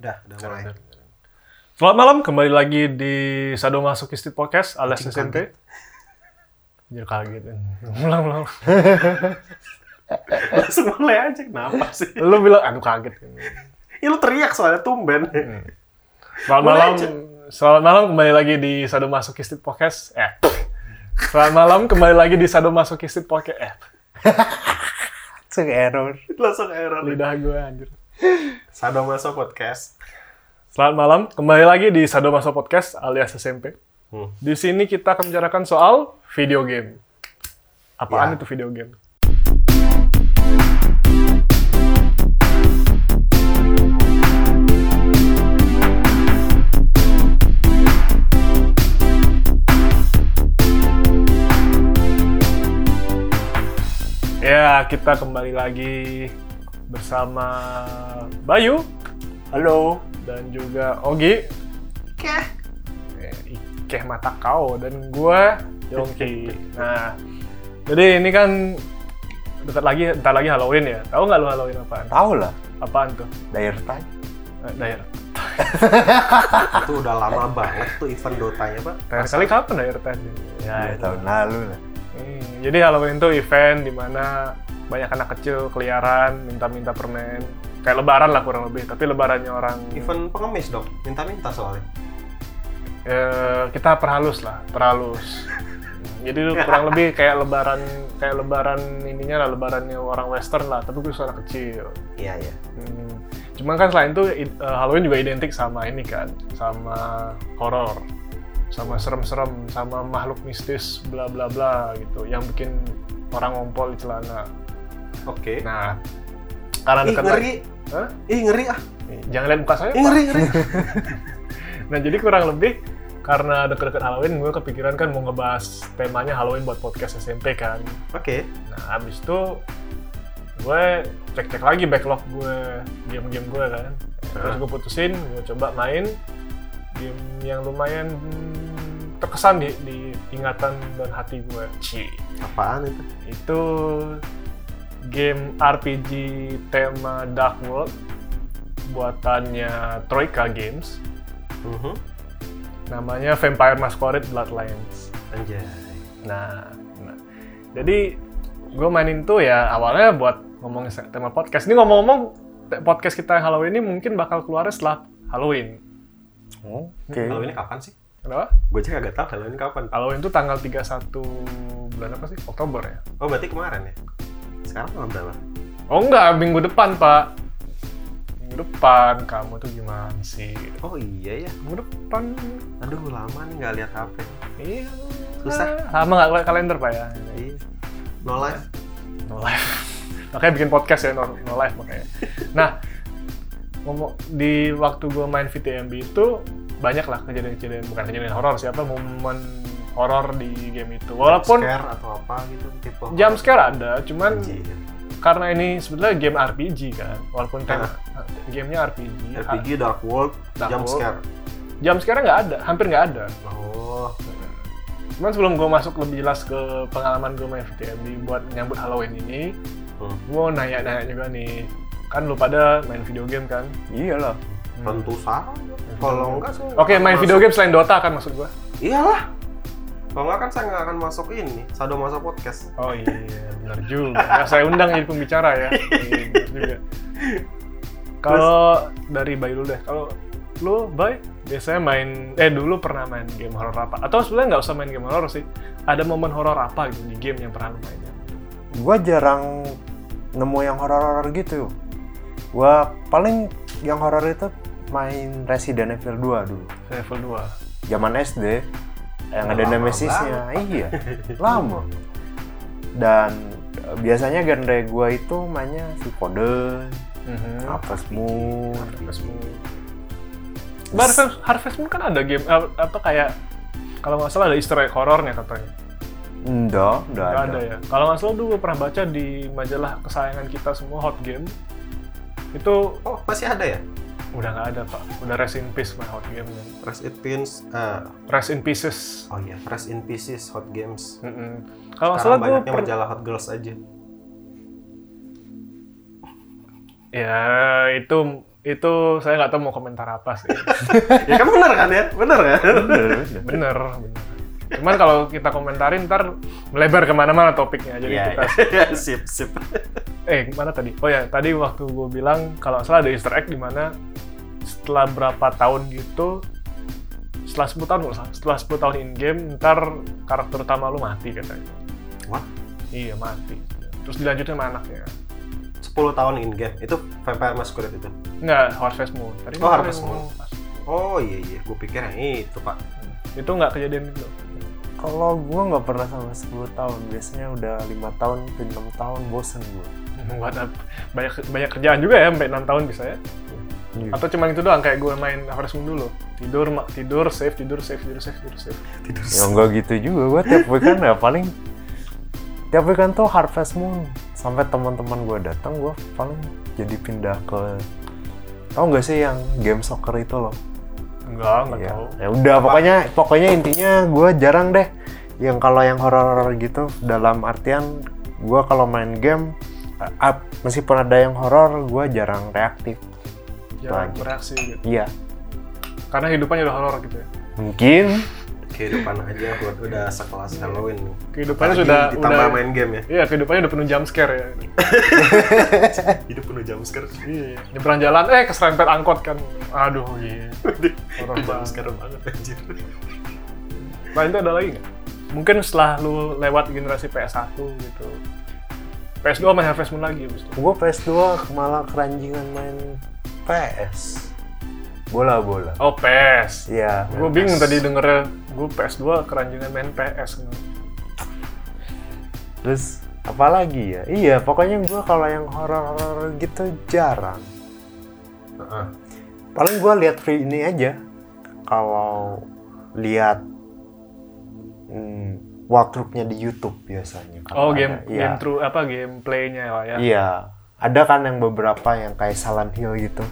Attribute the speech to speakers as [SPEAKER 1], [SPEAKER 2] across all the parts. [SPEAKER 1] Udah, udah mulai.
[SPEAKER 2] Keren, keren. Selamat malam, kembali lagi di Sadomasochistic Podcast alias
[SPEAKER 1] Anjing
[SPEAKER 2] SMT. Jadi kaget. Ulang, ulang.
[SPEAKER 1] Langsung mulai aja, kenapa sih?
[SPEAKER 2] Lu bilang, aduh kaget.
[SPEAKER 1] Ya lu teriak soalnya tumben.
[SPEAKER 2] Selamat
[SPEAKER 1] Mulai
[SPEAKER 2] malam.
[SPEAKER 1] aja.
[SPEAKER 2] Selamat malam, kembali lagi di Sadomasochistic Podcast. Eh. Selamat malam, kembali lagi di Sadomasochistic Podcast. Eh,
[SPEAKER 3] Langsung error.
[SPEAKER 1] Langsung error.
[SPEAKER 2] lidah gue anjir.
[SPEAKER 1] Sadomaso Podcast.
[SPEAKER 2] Selamat malam, kembali lagi di Sadomaso Podcast alias SMP.
[SPEAKER 1] Hmm.
[SPEAKER 2] Di sini kita akan membicarakan soal video game.
[SPEAKER 1] Ya.
[SPEAKER 2] Apaan itu video game? Ya, kita kembali lagi bersama Bayu
[SPEAKER 3] Halo.
[SPEAKER 2] dan juga Ogi Keh Keh mata kau dan gue Yongki nah jadi ini kan dekat lagi ntar lagi Halloween ya tahu nggak lu Halloween apaan
[SPEAKER 3] Tahu lah.
[SPEAKER 2] apaan tuh
[SPEAKER 3] Dayer time.
[SPEAKER 2] eh, Dayer
[SPEAKER 1] Itu udah lama banget tuh event Dotanya, Pak.
[SPEAKER 2] terakhir kali kapan Dayer Ten ya
[SPEAKER 3] Ya,
[SPEAKER 2] itu.
[SPEAKER 3] tahun lalu lah.
[SPEAKER 2] Hmm, jadi Halloween tuh event dimana banyak anak kecil keliaran minta-minta permen kayak lebaran lah kurang lebih tapi lebarannya orang
[SPEAKER 1] Event pengemis dong, minta-minta soalnya.
[SPEAKER 2] eh, kita perhalus lah perhalus jadi lu kurang lebih kayak lebaran kayak lebaran ininya lah lebarannya orang western lah tapi khusus anak kecil
[SPEAKER 1] Iya, iya.
[SPEAKER 2] Hmm. cuman kan selain itu i- eh, Halloween juga identik sama ini kan sama horor sama serem-serem sama makhluk mistis bla bla bla gitu yang bikin orang ngompol di celana
[SPEAKER 1] Oke.
[SPEAKER 2] nah karena
[SPEAKER 1] Ih,
[SPEAKER 2] dekat
[SPEAKER 1] ngeri.
[SPEAKER 2] Hah?
[SPEAKER 1] Ih, ngeri ah.
[SPEAKER 2] Nih, jangan lihat muka
[SPEAKER 1] Ih,
[SPEAKER 2] saya Pak.
[SPEAKER 1] ngeri, ngeri.
[SPEAKER 2] Nah, jadi kurang lebih karena deket-deket Halloween, gue kepikiran kan mau ngebahas temanya Halloween buat podcast SMP kan.
[SPEAKER 1] Oke.
[SPEAKER 2] Nah, abis itu gue cek-cek lagi backlog gue, game-game gue kan. Terus gue putusin, gue coba main game yang lumayan hmm, terkesan di, di ingatan dan hati gue. Ci.
[SPEAKER 1] Apaan itu?
[SPEAKER 2] Itu game RPG tema Dark World buatannya Troika Games
[SPEAKER 1] Mhm.
[SPEAKER 2] namanya Vampire Masquerade Bloodlines.
[SPEAKER 1] Anjay.
[SPEAKER 2] Nah, nah. jadi gue mainin tuh ya awalnya buat ngomongin se- tema podcast. Ini ngomong-ngomong te- podcast kita yang Halloween ini mungkin bakal keluar setelah Halloween.
[SPEAKER 3] Oke.
[SPEAKER 1] Halloween kapan sih?
[SPEAKER 2] Kenapa?
[SPEAKER 1] Gue aja kagak tahu Halloween kapan.
[SPEAKER 2] Halloween tuh tanggal 31 bulan apa sih? Oktober ya?
[SPEAKER 1] Oh, berarti kemarin ya? Sekarang tanggal berapa?
[SPEAKER 2] Oh enggak, minggu depan pak. Minggu depan, kamu tuh gimana sih?
[SPEAKER 1] Oh iya ya.
[SPEAKER 2] Minggu depan,
[SPEAKER 1] Aduh, lama nih nggak lihat HP.
[SPEAKER 2] iya.
[SPEAKER 1] Susah.
[SPEAKER 2] Lama nggak liat kalender pak ya?
[SPEAKER 1] Iya. No life.
[SPEAKER 2] no life makanya bikin podcast ya no, no life makanya nah ngomong di waktu gue main VTMB itu banyak lah kejadian-kejadian bukan kejadian horor siapa momen horor di game itu walaupun
[SPEAKER 1] scare atau apa gitu tipe
[SPEAKER 2] jump scare ada cuman
[SPEAKER 1] Anjir.
[SPEAKER 2] karena ini sebenarnya game RPG kan walaupun tema gamenya RPG,
[SPEAKER 1] RPG Dark World
[SPEAKER 2] Dark
[SPEAKER 1] jump
[SPEAKER 2] World.
[SPEAKER 1] scare
[SPEAKER 2] ah, jump scare nggak ada hampir nggak ada
[SPEAKER 1] oh
[SPEAKER 2] cuman sebelum gue masuk lebih jelas ke pengalaman gue main VTMB buat nyambut Halloween ini
[SPEAKER 1] hmm.
[SPEAKER 2] gue nanya-nanya juga nih kan lu pada main video game kan
[SPEAKER 3] Iyalah.
[SPEAKER 1] tentu saja kalau enggak saya nggak
[SPEAKER 2] Oke,
[SPEAKER 1] akan
[SPEAKER 2] main
[SPEAKER 1] masuk.
[SPEAKER 2] video game selain Dota kan maksud gua.
[SPEAKER 1] iyalah kalau enggak kan saya nggak akan masuk ini sado masuk podcast
[SPEAKER 2] Oh iya, benar juga. Ya, saya undang jadi pembicara ya. Iya, benar juga. Kalau dari Bay dulu deh. Kalau lu Bay biasanya main eh dulu pernah main game horor apa? Atau sebenarnya nggak usah main game horor sih. Ada momen horor apa gitu di game yang pernah lu mainin?
[SPEAKER 3] Gua jarang nemu yang horor-horor gitu. Gua paling yang horor itu main Resident Evil 2 dulu.
[SPEAKER 2] Level 2.
[SPEAKER 3] Zaman SD yang ada
[SPEAKER 1] Lama
[SPEAKER 3] Nemesisnya. Iya. Lama. Dan eh, biasanya genre gua itu mainnya si kode, Harvest Moon,
[SPEAKER 2] Mhm. Harvest Moon. Bah, Harvest, Harvest Moon kan ada game eh, apa kayak kalau nggak salah ada easter egg horornya katanya.
[SPEAKER 3] Enggak, enggak
[SPEAKER 2] Gak
[SPEAKER 3] ada.
[SPEAKER 2] ada ya. Kalau nggak salah dulu gue pernah baca di majalah kesayangan kita semua Hot Game itu
[SPEAKER 1] oh masih ada ya
[SPEAKER 2] udah nggak ada pak. Udah rest in peace mah Hot Game.
[SPEAKER 1] Rest in Peace eh,
[SPEAKER 2] Rest in pieces.
[SPEAKER 1] oh iya Rest in Pieces Hot Games
[SPEAKER 2] Mm-mm. Kalau nggak salah
[SPEAKER 1] sekarang
[SPEAKER 2] gue
[SPEAKER 1] banyaknya majalah Hot Girls aja
[SPEAKER 2] ya itu Itu saya nggak tahu mau komentar apa sih.
[SPEAKER 1] ya kan bener kan ya? Bener kan?
[SPEAKER 3] Bener, bener.
[SPEAKER 2] bener, bener. Cuman kalau kita komentarin ntar melebar kemana-mana topiknya. Jadi
[SPEAKER 1] Iya,
[SPEAKER 2] kita
[SPEAKER 1] iya. sip, sip.
[SPEAKER 2] eh mana tadi? Oh ya tadi waktu gue bilang kalau nggak salah ada Easter egg di mana setelah berapa tahun gitu setelah 10 tahun nggak salah, setelah 10 tahun in game ntar karakter utama lu mati katanya.
[SPEAKER 1] What?
[SPEAKER 2] Iya mati. Terus dilanjutin sama anaknya.
[SPEAKER 1] 10 tahun in game. Itu Vampire Masquerade itu.
[SPEAKER 2] Nggak, Harvest Moon. Tadi
[SPEAKER 1] Oh, Harvest Moon.
[SPEAKER 2] ngomong Harvest Moon.
[SPEAKER 1] Oh iya iya, gue pikir yang itu pak.
[SPEAKER 2] Itu nggak kejadian gitu.
[SPEAKER 3] Kalau gue nggak pernah sama 10 tahun, biasanya udah lima tahun ke 6 tahun bosen gue.
[SPEAKER 2] Buat apa? banyak banyak kerjaan juga ya sampai 6 tahun bisa ya.
[SPEAKER 1] Iya.
[SPEAKER 3] Iya.
[SPEAKER 2] Atau cuman itu doang kayak gue main Harvest Moon dulu. Tidur, ma- tidur, save, tidur, save, tidur, save, tidur, save.
[SPEAKER 1] Tidur.
[SPEAKER 3] Ya nggak gitu juga, gue tiap weekend ya paling tiap weekend tuh Harvest Moon sampai teman-teman gue datang gue paling jadi pindah ke tau nggak sih yang game soccer itu loh
[SPEAKER 2] Enggak, enggak
[SPEAKER 1] Iya,
[SPEAKER 3] ya,
[SPEAKER 2] tahu.
[SPEAKER 3] ya udah pokoknya pokoknya intinya gue jarang deh yang kalau yang horor gitu dalam artian gue kalau main game eh, up meskipun ada yang horor gue jarang reaktif
[SPEAKER 2] Jarang
[SPEAKER 3] Lagi.
[SPEAKER 2] bereaksi gitu.
[SPEAKER 3] iya
[SPEAKER 2] Karena hidupannya udah horor gitu ya.
[SPEAKER 3] mungkin
[SPEAKER 1] Kehidupan aja buat udah sekelas Halloween. nih.
[SPEAKER 2] Kehidupannya
[SPEAKER 1] Apalagi
[SPEAKER 2] sudah
[SPEAKER 1] ditambah
[SPEAKER 2] udah
[SPEAKER 1] main game ya.
[SPEAKER 2] Iya, kehidupannya udah penuh jump scare ya.
[SPEAKER 1] Hidup penuh jumpscare.
[SPEAKER 2] Iya, nyebrang jalan eh keserempet angkot kan. Aduh, iya. Horor banget.
[SPEAKER 1] jumpscare banget anjir.
[SPEAKER 2] Lain itu ada lagi nggak? Mungkin setelah lu lewat generasi PS1 gitu. PS2 main Harvest Moon lagi abis itu.
[SPEAKER 3] gue PS2 malah keranjingan main PS bola bola
[SPEAKER 2] Oh, PS.
[SPEAKER 3] Iya.
[SPEAKER 2] Gue bingung tadi dengernya gue PS2 keranjingan main kan. PS.
[SPEAKER 3] Terus apalagi ya? Iya, pokoknya gua kalau yang horor-horor gitu jarang.
[SPEAKER 1] Heeh.
[SPEAKER 3] Paling gua lihat free ini aja. Kalau lihat hmm, walkthrough-nya di YouTube biasanya.
[SPEAKER 2] Oh,
[SPEAKER 3] kalau
[SPEAKER 2] game
[SPEAKER 3] ada. Iya.
[SPEAKER 2] game true apa gameplaynya lah ya.
[SPEAKER 3] Iya. Ada kan yang beberapa yang kayak Silent Hill gitu.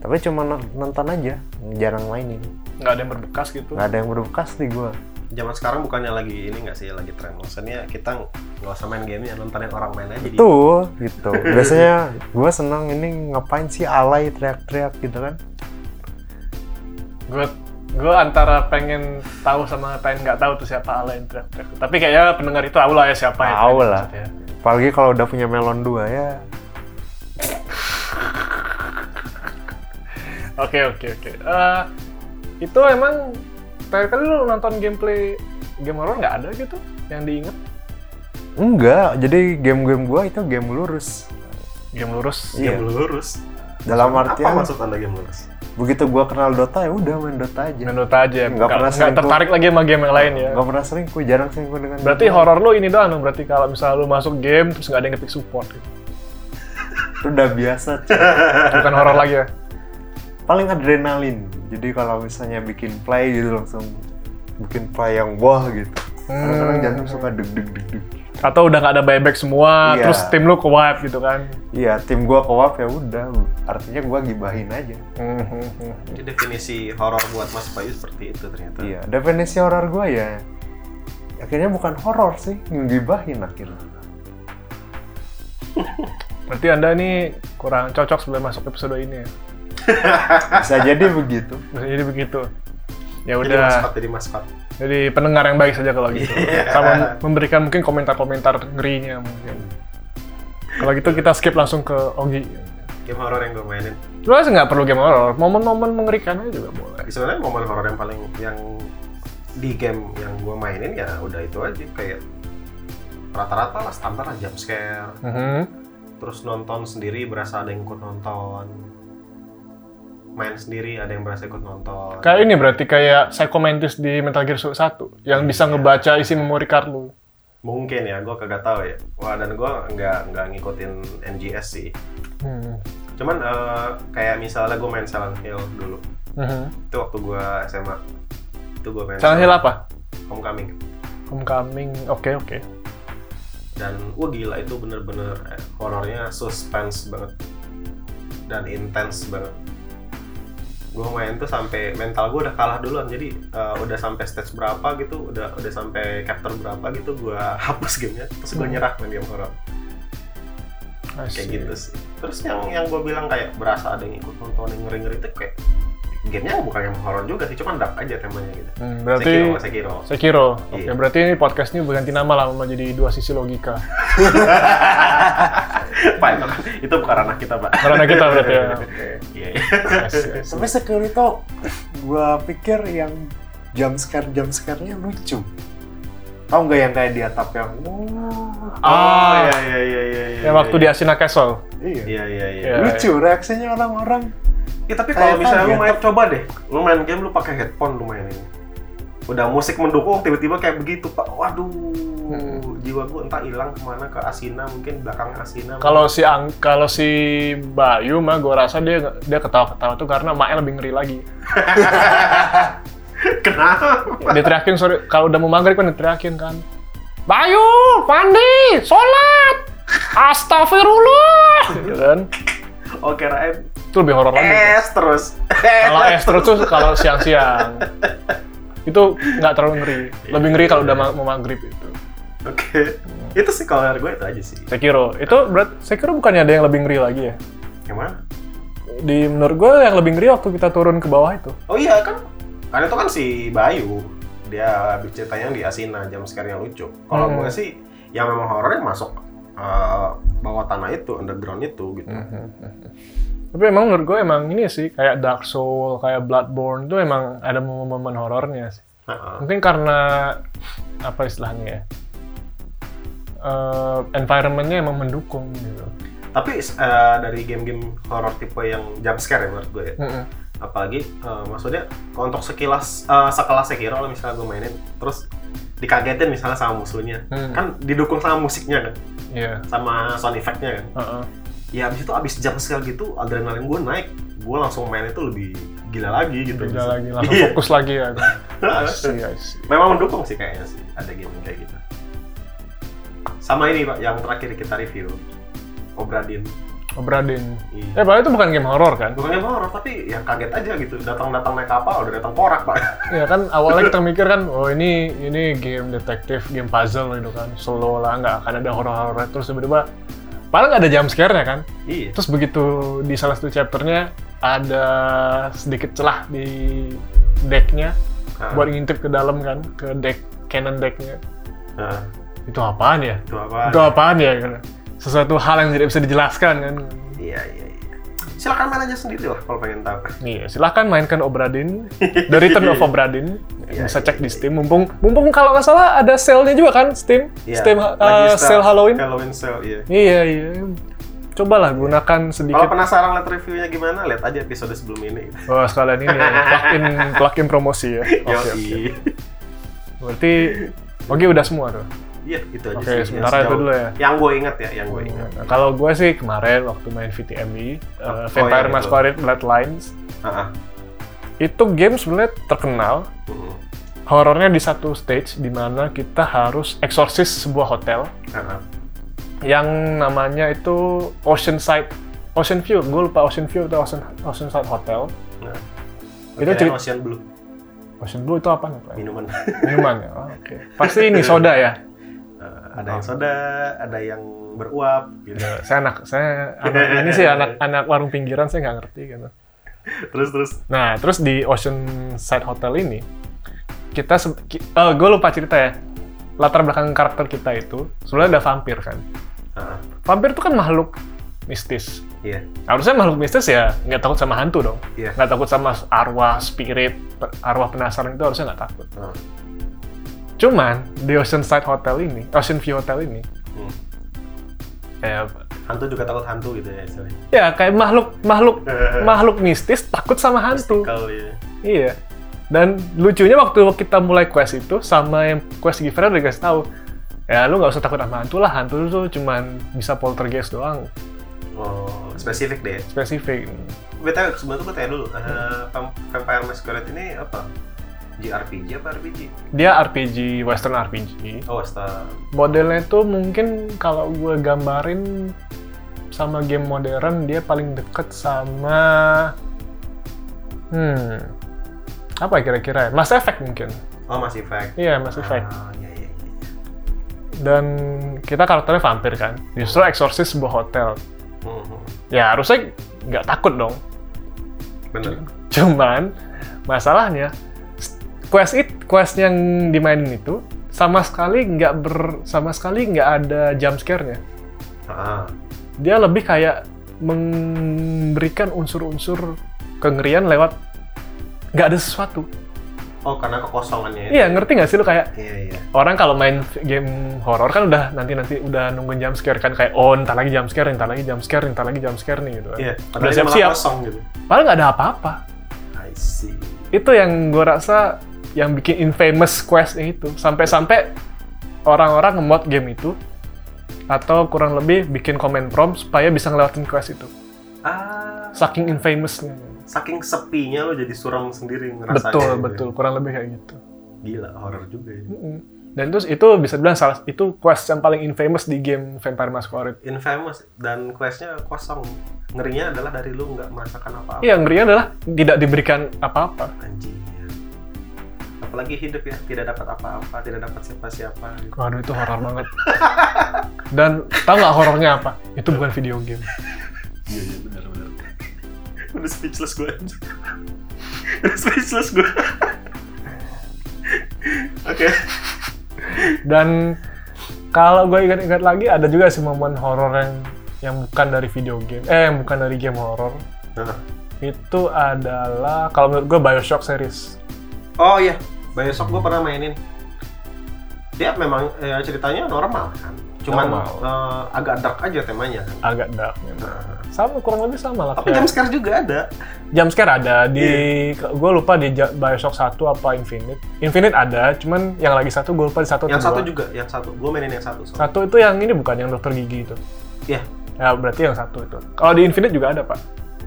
[SPEAKER 3] Tapi cuma n- nonton aja, jarang mainin.
[SPEAKER 2] Nggak ada yang berbekas gitu.
[SPEAKER 3] Nggak ada yang berbekas di gua.
[SPEAKER 1] Zaman sekarang bukannya lagi ini nggak sih lagi tren? Maksudnya kita nggak usah main game ya nontonin orang main aja. di-
[SPEAKER 3] Tuh, gitu. Biasanya gua senang ini ngapain sih alay teriak-teriak gitu kan.
[SPEAKER 2] gue gue antara pengen tahu sama pengen nggak tahu tuh siapa Alain Track Track. Tapi kayaknya pendengar itu tahu lah ya siapa ya.
[SPEAKER 3] Tahu lah.
[SPEAKER 2] maksudnya.
[SPEAKER 3] Apalagi kalau udah punya melon dua ya.
[SPEAKER 2] Oke oke oke. Eh, itu emang terakhir kali lu nonton gameplay game horror nggak ada gitu yang diinget?
[SPEAKER 3] Enggak, jadi game-game gua itu game lurus.
[SPEAKER 2] Game lurus.
[SPEAKER 3] Iya.
[SPEAKER 1] Game lurus.
[SPEAKER 3] Dalam
[SPEAKER 1] Apa
[SPEAKER 3] artian
[SPEAKER 1] maksud anda game lurus?
[SPEAKER 3] begitu gua kenal Dota ya udah main Dota aja.
[SPEAKER 2] Main Dota aja.
[SPEAKER 3] Nggak
[SPEAKER 2] Nggak
[SPEAKER 3] pernah
[SPEAKER 2] nggak
[SPEAKER 3] selingkuh.
[SPEAKER 2] tertarik lagi sama game yang lain ya.
[SPEAKER 3] Gak pernah selingkuh, jarang selingkuh dengan
[SPEAKER 2] Berarti
[SPEAKER 3] game.
[SPEAKER 2] horror lu ini doang dong. Berarti kalau misalnya lu masuk game terus nggak ada yang ngetik support. Gitu.
[SPEAKER 3] itu udah biasa. cuy.
[SPEAKER 2] Bukan horror lagi ya.
[SPEAKER 3] Paling adrenalin. Jadi kalau misalnya bikin play gitu langsung bikin play yang wah gitu. Kadang-kadang
[SPEAKER 1] Hmm.
[SPEAKER 3] jantung suka deg deg deg deg.
[SPEAKER 2] Atau udah nggak ada buyback semua,
[SPEAKER 3] Iya.
[SPEAKER 2] terus tim lu ke wipe gitu kan.
[SPEAKER 3] Iya, tim gua kewap ya udah. Artinya gua gibahin aja.
[SPEAKER 1] Hmm, Jadi definisi horor buat Mas Bayu seperti itu ternyata.
[SPEAKER 3] Iya, definisi horor gua ya akhirnya bukan horor sih, ngegibahin akhirnya.
[SPEAKER 2] Berarti anda nih kurang cocok sebelum masuk episode ini ya.
[SPEAKER 3] Bisa jadi begitu.
[SPEAKER 2] Bisa jadi begitu. Ya
[SPEAKER 1] Jadi maskot
[SPEAKER 2] udah,
[SPEAKER 1] jadi maskot.
[SPEAKER 2] jadi pendengar yang baik saja kalau gitu.
[SPEAKER 1] Iya.
[SPEAKER 2] Sama memberikan mungkin komentar-komentar ngerinya mungkin. Kalau gitu kita skip langsung ke Ogi.
[SPEAKER 1] Game horor yang gue mainin.
[SPEAKER 2] Sebenarnya nggak perlu game horror, momen-momen mengerikan aja juga boleh.
[SPEAKER 1] Sebenarnya momen horor yang paling yang di game yang gue mainin ya udah itu aja kayak rata-rata lah standar lah jump scare Mm-hmm. terus nonton sendiri berasa ada yang ikut nonton main sendiri ada yang berasa ikut nonton
[SPEAKER 2] Kayak ini berarti kayak psikomantis di Metal Gear Solid 1 yang bisa ngebaca isi memori card lu.
[SPEAKER 1] mungkin ya gue kagak tahu ya wah dan gue nggak nggak ngikutin NGS sih Mm-hmm.
[SPEAKER 2] Hmm.
[SPEAKER 1] cuman eh, kayak misalnya gue main Silent Hill dulu
[SPEAKER 2] Mhm.
[SPEAKER 1] itu waktu gue SMA itu gue main
[SPEAKER 2] Silent Hill apa?
[SPEAKER 1] Homecoming
[SPEAKER 2] Homecoming. Oke, oke.
[SPEAKER 1] dan wah gila itu bener-bener eh, horornya suspense banget dan intense banget gue main tuh sampai mental gue udah kalah duluan jadi eh, udah sampai stage berapa gitu udah udah sampai chapter berapa gitu gue hapus gamenya terus gue
[SPEAKER 2] Hmm.
[SPEAKER 1] nyerah main game horor kayak gitu sih terus yang yang gue bilang kayak berasa ada yang ikut nonton yang ngeri ngeri itu kayak gamenya bukan yang horor juga sih cuman dark aja temanya gitu
[SPEAKER 2] Hmm, Oh. berarti
[SPEAKER 1] Sekiro Sekiro
[SPEAKER 2] Sekiro. Oke,
[SPEAKER 1] Iya.
[SPEAKER 2] berarti ini podcast ini berganti nama lah mau jadi dua sisi logika.
[SPEAKER 1] pak itu, kan- itu bukan ranah kita pak
[SPEAKER 2] Karena kita berarti ya.
[SPEAKER 1] Iya.
[SPEAKER 2] Yes, yes.
[SPEAKER 3] Tapi Securito, gua pikir yang jump scare jump scare-nya lucu. Tau nggak yang kayak di atap yang "Wah",
[SPEAKER 1] oh
[SPEAKER 2] Ah.
[SPEAKER 1] iya iya iya iya iya,
[SPEAKER 2] Ya waktu di
[SPEAKER 1] iya.
[SPEAKER 2] Asina Castle.
[SPEAKER 3] Iya.
[SPEAKER 1] iya iya iya
[SPEAKER 2] Iya.
[SPEAKER 3] Lucu reaksinya orang-orang.
[SPEAKER 1] Ih, tapi kalau
[SPEAKER 3] Kayak
[SPEAKER 1] misalnya lu
[SPEAKER 3] target.
[SPEAKER 1] main coba deh lu main game lu pakai headphone lu mainin udah musik mendukung tiba-tiba kayak begitu pak waduh
[SPEAKER 2] Hmm.
[SPEAKER 1] jiwa gue entah hilang kemana ke Asina mungkin belakang Asina
[SPEAKER 2] Kalau si Ang, kalau si Bayu mah gua rasa dia dia ketawa-ketawa tuh karena Mae lebih ngeri lagi.
[SPEAKER 1] kenapa
[SPEAKER 2] Diteriakin sore kalau udah mau maghrib kan diteriakin kan. Bayu, Pandi, sholat, astagfirullah, gitu kan?
[SPEAKER 1] oke Raib
[SPEAKER 2] Itu lebih horor lagi. tuh.
[SPEAKER 1] es terus
[SPEAKER 2] Kalau Astro tuh kalau siang-siang itu nggak terlalu ngeri. Lebih ngeri kalau udah ma- mau maghrib itu.
[SPEAKER 1] oke itu sih kalau dari gue itu aja sih
[SPEAKER 2] Sekiro itu berat. Sekiro bukannya ada yang lebih ngeri lagi ya?
[SPEAKER 1] gimana
[SPEAKER 2] Di menurut gue yang lebih ngeri waktu kita turun ke bawah itu.
[SPEAKER 1] oh iya kan karena itu kan si Bayu dia habis ceritanya yang di Asina jam sekarang yang lucu kalau
[SPEAKER 2] Hmm.
[SPEAKER 1] gue sih yang memang horornya masuk eh, bawah tanah itu underground itu gitu
[SPEAKER 2] Hmm. Tapi emang menurut gue emang ini sih kayak Dark Soul, kayak Bloodborne itu emang ada momen-momen horornya sih.
[SPEAKER 1] Heeh.
[SPEAKER 2] Mungkin karena apa istilahnya ya? Eh, environmentnya emang mendukung gitu.
[SPEAKER 1] tapi eh, dari game-game horor tipe yang jump scare ya menurut gue ya.
[SPEAKER 2] Mm-mm.
[SPEAKER 1] apalagi eh, maksudnya kalau untuk sekilas eh, sekelas Sekiro kalau misalnya gue mainin terus dikagetin misalnya sama musuhnya
[SPEAKER 2] Hmm.
[SPEAKER 1] kan didukung sama musiknya kan
[SPEAKER 2] Iya.
[SPEAKER 1] sama sound effect-nya kan
[SPEAKER 2] Heeh.
[SPEAKER 1] ya abis itu abis jump scare gitu adrenalin gue naik gue langsung main itu lebih gila lagi gitu
[SPEAKER 2] Beda lagi, langsung
[SPEAKER 1] Iya.
[SPEAKER 2] fokus lagi ya. I see, I see.
[SPEAKER 1] memang mendukung sih kayaknya sih ada game kayak gitu sama ini pak yang terakhir kita review Obra Dinn
[SPEAKER 2] Obra Dinn.
[SPEAKER 1] Iya.
[SPEAKER 2] Eh, padahal itu bukan game horor kan?
[SPEAKER 1] bukannya horor tapi ya kaget aja gitu datang-datang naik kapal udah datang porak pak
[SPEAKER 2] Ya kan awalnya kita mikir kan, oh ini ini game detektif, game puzzle gitu kan, solo lah, nggak akan ada horor-horor. Terus tiba-tiba, padahal nggak ada jump scare-nya kan.
[SPEAKER 1] iya
[SPEAKER 2] Terus begitu di salah satu chapternya ada sedikit celah di decknya
[SPEAKER 1] Ah.
[SPEAKER 2] buat ngintip ke dalam kan, ke deck cannon decknya.
[SPEAKER 1] nah,
[SPEAKER 2] Itu apaan ya?
[SPEAKER 1] itu apa
[SPEAKER 2] Itu apaan ya? Gitu. Sesuatu hal yang tidak bisa dijelaskan kan.
[SPEAKER 1] iya iya iya silakan main aja sendiri lah kalau pengen tahu
[SPEAKER 2] Iya, silahkan mainkan Obradin, The Return of Obradin.
[SPEAKER 1] Iya,
[SPEAKER 2] bisa
[SPEAKER 1] iya,
[SPEAKER 2] cek
[SPEAKER 1] iya.
[SPEAKER 2] di Steam. Mumpung, mumpung kalau nggak salah ada sale-nya juga kan, Steam.
[SPEAKER 1] Iya,
[SPEAKER 2] Steam
[SPEAKER 1] lagi start-
[SPEAKER 2] uh, sale Halloween.
[SPEAKER 1] Halloween sale iya
[SPEAKER 2] Iya, iya. Cobalah gunakan
[SPEAKER 1] kalau
[SPEAKER 2] sedikit.
[SPEAKER 1] penasaran lihat reviewnya gimana lihat aja episode sebelum ini
[SPEAKER 2] Wah, sekalian ini ya, plugin plugin promosi ya. Oke,
[SPEAKER 1] Yoi.
[SPEAKER 2] oke. Berarti Oke udah semua tuh.
[SPEAKER 1] Iya, itu aja
[SPEAKER 2] Oke,
[SPEAKER 1] sih.
[SPEAKER 2] sementara itu
[SPEAKER 1] sejauh-
[SPEAKER 2] dulu ya.
[SPEAKER 1] Yang gue ingat ya, yang gue ingat.
[SPEAKER 2] Nah, kalau gue sih kemarin waktu main VTMI,
[SPEAKER 1] Oh,
[SPEAKER 2] uh, Vampire
[SPEAKER 1] iya,
[SPEAKER 2] Masquerade Bloodlines,
[SPEAKER 1] Heeh.
[SPEAKER 2] itu game sebenarnya terkenal
[SPEAKER 1] Mm.
[SPEAKER 2] horornya di satu stage di mana kita harus eksorsis sebuah hotel
[SPEAKER 1] Heeh.
[SPEAKER 2] yang namanya itu Oceanside Ocean View, gue lupa Ocean View atau Ocean Oceanside Hotel.
[SPEAKER 1] Nah.
[SPEAKER 2] Itu
[SPEAKER 1] Oke, Iya.
[SPEAKER 2] cerita
[SPEAKER 1] Ocean Blue
[SPEAKER 2] Ocean Blue itu apa nih? Pak?
[SPEAKER 1] minuman.
[SPEAKER 2] Minuman ya. Oh, oke. Pasti ini soda ya.
[SPEAKER 1] Eh, ada
[SPEAKER 2] Oh.
[SPEAKER 1] yang soda, ada yang beruap gitu.
[SPEAKER 2] Ya, Saya anak, saya anak ini sih anak-anak warung pinggiran saya nggak ngerti gitu.
[SPEAKER 1] Terus terus
[SPEAKER 2] Nah, terus di Oceanside Hotel ini kita, gue lupa cerita ya. Latar belakang karakter kita itu sebenarnya ada vampir kan.
[SPEAKER 1] Heeh.
[SPEAKER 2] Vampir itu kan makhluk mistis.
[SPEAKER 1] Iya.
[SPEAKER 2] harusnya makhluk mistis ya nggak takut sama hantu dong
[SPEAKER 1] Iya.
[SPEAKER 2] nggak takut sama arwah spirit pe- arwah penasaran itu harusnya nggak takut
[SPEAKER 1] Heeh.
[SPEAKER 2] cuman di Oceanside Hotel ini Ocean View Hotel ini
[SPEAKER 1] Hmm.
[SPEAKER 2] kayak
[SPEAKER 1] Hantu juga takut hantu gitu ya, sorry. Nah,
[SPEAKER 2] ya kayak makhluk makhluk
[SPEAKER 1] Iya.
[SPEAKER 2] makhluk mistis takut sama hantu
[SPEAKER 1] Kalau ya.
[SPEAKER 2] iya dan lucunya waktu kita mulai quest itu sama yang quest giver udah dikasih tahu ya lu nggak usah takut sama hantu lah hantu tuh cuman bisa poltergeist doang
[SPEAKER 1] Oh, spesifik deh.
[SPEAKER 2] spesifik
[SPEAKER 1] Btw, sebelum itu gue tanya dulu, eh,
[SPEAKER 2] Hmm.
[SPEAKER 1] Vamp- Vampire Masquerade ini apa? JRPG apa RPG?
[SPEAKER 2] dia RPG western RPG
[SPEAKER 1] Oh, Star.
[SPEAKER 2] modelnya itu mungkin kalau gue gambarin sama game modern dia paling deket sama hmm apa ya kira-kira ya? Mass Effect mungkin
[SPEAKER 1] Oh, Mass Effect.
[SPEAKER 2] iya Mass Effect
[SPEAKER 1] Ah, iya, iya, iya.
[SPEAKER 2] dan kita karakternya vampir kan justru eksorsis sebuah hotel
[SPEAKER 1] Mhm.
[SPEAKER 2] ya harusnya nggak takut dong
[SPEAKER 1] Bener.
[SPEAKER 2] cuman masalahnya quest it quest yang dimainin itu sama sekali nggak ber sama sekali nggak ada jump scare-nya
[SPEAKER 1] Ah,
[SPEAKER 2] dia lebih kayak memberikan unsur-unsur kengerian lewat nggak ada sesuatu
[SPEAKER 1] Oh, karena kekosongannya.
[SPEAKER 2] iya ngerti nggak sih lu kayak
[SPEAKER 1] Iya, iya.
[SPEAKER 2] orang kalau main game horor kan udah nanti nanti udah nungguin jump scare kan kayak oh ntar lagi jump scare ntar lagi jump scare ntar lagi jump scare nih gitu kan.
[SPEAKER 1] Iya,
[SPEAKER 2] udah
[SPEAKER 1] padahal dia
[SPEAKER 2] siap
[SPEAKER 1] malah
[SPEAKER 2] siap
[SPEAKER 1] kosong gitu.
[SPEAKER 2] padahal nggak ada apa-apa
[SPEAKER 1] I see.
[SPEAKER 2] itu yang gue rasa yang bikin infamous quest itu sampai-sampai orang-orang nge-mod game itu atau kurang lebih bikin komen prompt supaya bisa ngelewatin quest itu
[SPEAKER 1] Ah,
[SPEAKER 2] saking infamousnya
[SPEAKER 1] saking sepinya lo jadi suram sendiri ngerasain.
[SPEAKER 2] betul
[SPEAKER 1] gitu.
[SPEAKER 2] betul kurang lebih kayak gitu
[SPEAKER 1] Gila, horor juga ya.
[SPEAKER 2] Mm-mm. dan terus itu bisa bilang salah itu quest yang paling infamous di game Vampire Masquerade
[SPEAKER 1] Infamous dan questnya kosong. Ngerinya adalah dari lu nggak merasakan apa-apa.
[SPEAKER 2] Iya, yang ngerinya adalah tidak diberikan apa-apa
[SPEAKER 1] Anjing. ya. Apalagi hidup ya, tidak dapat apa-apa, tidak dapat siapa-siapa. gitu.
[SPEAKER 2] waduh itu horor banget dan tau nggak horornya apa itu bukan video game
[SPEAKER 1] Iya, iya, benar, benar. Udah speechless gue. Udah speechless gue. Oke.
[SPEAKER 2] Dan kalau gue ingat-ingat lagi ada juga sih momen horor yang yang bukan dari video game, eh yang bukan dari game horor
[SPEAKER 1] Nah.
[SPEAKER 2] itu adalah kalau menurut gue Bioshock series.
[SPEAKER 1] Oh iya, Bioshock gue pernah mainin. Dia memang eh, ceritanya normal kan, cuman
[SPEAKER 2] Normal.
[SPEAKER 1] eh, agak dark aja temanya kan.
[SPEAKER 2] agak dark memang.
[SPEAKER 1] Nah,
[SPEAKER 2] Sama kurang lebih sama lah.
[SPEAKER 1] tapi jam
[SPEAKER 2] kayak-
[SPEAKER 1] sekarang juga ada.
[SPEAKER 2] jump scare ada di
[SPEAKER 1] Iya.
[SPEAKER 2] gue lupa di Ja- Bioshock 1 apa Infinite. Infinite ada, cuman yang lagi satu gue lupa di satu
[SPEAKER 1] Yang
[SPEAKER 2] atau
[SPEAKER 1] satu
[SPEAKER 2] dua.
[SPEAKER 1] juga, yang satu. Gue mainin yang satu. soalnya.
[SPEAKER 2] Satu itu yang ini bukan yang dokter gigi itu.
[SPEAKER 1] Iya,
[SPEAKER 2] Ya berarti yang satu itu. Kalau di Infinite juga ada, Pak.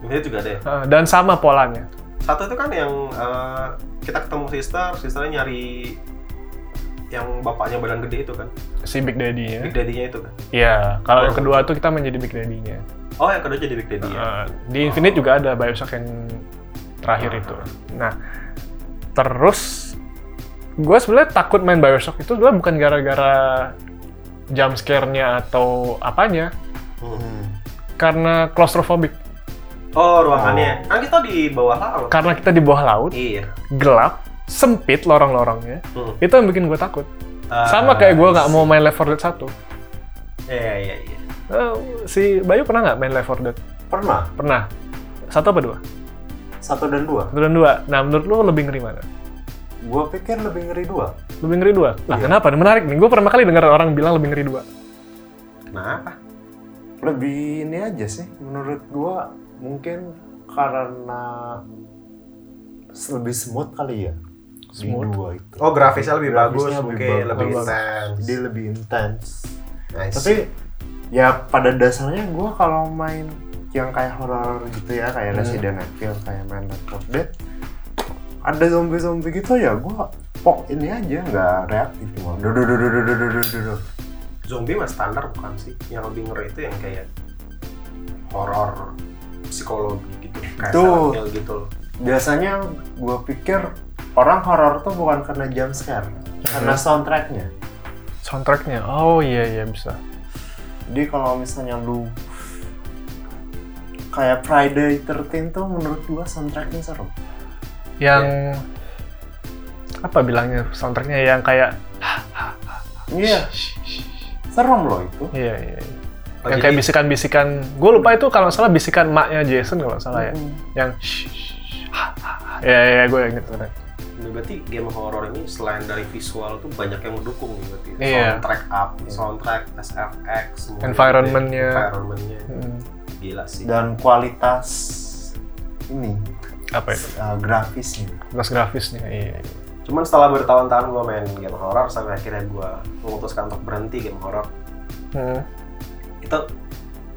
[SPEAKER 1] ini juga ada ya.
[SPEAKER 2] Nah, Dan sama polanya.
[SPEAKER 1] Satu itu kan yang eh, kita ketemu sister, sisternya nyari yang bapaknya badan gede itu kan,
[SPEAKER 2] Si Big Daddy-nya.
[SPEAKER 1] Big Daddy-nya itu kan.
[SPEAKER 2] Iya, kalau yang kedua tuh kita menjadi Big Daddy-nya.
[SPEAKER 1] Oh, yang kedua jadi Big Daddy ya.
[SPEAKER 2] Uh, di Infinite juga ada Bioshock yang
[SPEAKER 1] Ah.
[SPEAKER 2] terakhir itu. Nah, terus gue sebenarnya takut main Bioshock itu sebenarnya bukan gara-gara jump scare-nya atau apanya,
[SPEAKER 1] Hmm.
[SPEAKER 2] karena claustrophobic.
[SPEAKER 1] Oh, ruangannya. Kan kita di bawah laut.
[SPEAKER 2] Karena kita di bawah laut,
[SPEAKER 1] Iya.
[SPEAKER 2] gelap, sempit lorong-lorongnya.
[SPEAKER 1] Hmm.
[SPEAKER 2] Itu yang bikin gue takut.
[SPEAKER 1] Ah,
[SPEAKER 2] Sama kayak gue nggak mau main Left 4 Dead 1.
[SPEAKER 1] Iya, iya, iya.
[SPEAKER 2] Eh, si Bayu pernah nggak main Left 4 Dead?
[SPEAKER 3] Pernah.
[SPEAKER 2] Pernah. Satu apa dua?
[SPEAKER 3] Satu dan dua.
[SPEAKER 2] Satu dan dua. Nah, menurut lo lebih ngeri mana?
[SPEAKER 3] Gua pikir lebih ngeri dua.
[SPEAKER 2] Lebih ngeri dua? Lah kenapa? Ini Menarik nih. Gue pertama kali dengar orang bilang lebih ngeri dua.
[SPEAKER 1] Kenapa?
[SPEAKER 3] Lebih ini aja sih. Menurut gua mungkin karena lebih smooth kali ya. Di
[SPEAKER 2] Smooth.
[SPEAKER 3] dua itu.
[SPEAKER 1] Oh grafisnya lebih bagus,
[SPEAKER 3] Grafisnya
[SPEAKER 1] oke
[SPEAKER 3] bagus.
[SPEAKER 1] lebih
[SPEAKER 3] Jadi
[SPEAKER 1] intens.
[SPEAKER 3] lebih intens.
[SPEAKER 1] Nice.
[SPEAKER 3] tapi ya pada dasarnya gue kalau main yang kayak horor gitu ya
[SPEAKER 1] Hmm.
[SPEAKER 3] kayak Resident Evil kayak main Left 4 Dead ada zombie zombie gitu ya gue pok ini aja nggak reaktif cuma duh, duh, duh, duh, duh, duh, duh, duh, duh, duh.
[SPEAKER 1] zombie mah standar bukan sih? Yang lebih ngeri itu yang kayak horor psikologi gitu, kayak
[SPEAKER 3] Tuh.
[SPEAKER 1] Silent Hill gitu. loh.
[SPEAKER 3] biasanya gue pikir orang horor tuh bukan karena jump scare
[SPEAKER 1] Hmm.
[SPEAKER 3] karena soundtracknya
[SPEAKER 2] Soundtracknya. Oh iya iya bisa.
[SPEAKER 3] jadi kalau misalnya lu kayak Friday 13 tuh menurut gue soundtracknya seru
[SPEAKER 2] Yang apa bilangnya soundtracknya yang kayak
[SPEAKER 3] iya serem loh itu
[SPEAKER 2] iya iya. iya.
[SPEAKER 1] Oh,
[SPEAKER 2] yang
[SPEAKER 1] jadi-
[SPEAKER 2] kayak bisikan-bisikan. Gue lupa itu kalau nggak salah bisikan maknya Jason kalau nggak salah ya.
[SPEAKER 3] Mm.
[SPEAKER 2] Yang ya ya gue inget bener.
[SPEAKER 1] Ini Berarti game horor ini selain dari visual tuh banyak yang mendukung nih berarti.
[SPEAKER 2] Iya.
[SPEAKER 1] Soundtrack up, soundtrack, SFX, semua gitu.
[SPEAKER 2] Environment-nya.
[SPEAKER 1] environmentnya
[SPEAKER 2] Hmm.
[SPEAKER 1] gila sih.
[SPEAKER 3] dan kualitas ini
[SPEAKER 2] Apa itu?
[SPEAKER 3] uh, grafisnya
[SPEAKER 2] Mas grafisnya. Iya. iya.
[SPEAKER 1] Cuman setelah bertahun-tahun gue main game horor sampai akhirnya gue memutuskan untuk berhenti game horor.
[SPEAKER 2] Hmm.
[SPEAKER 1] itu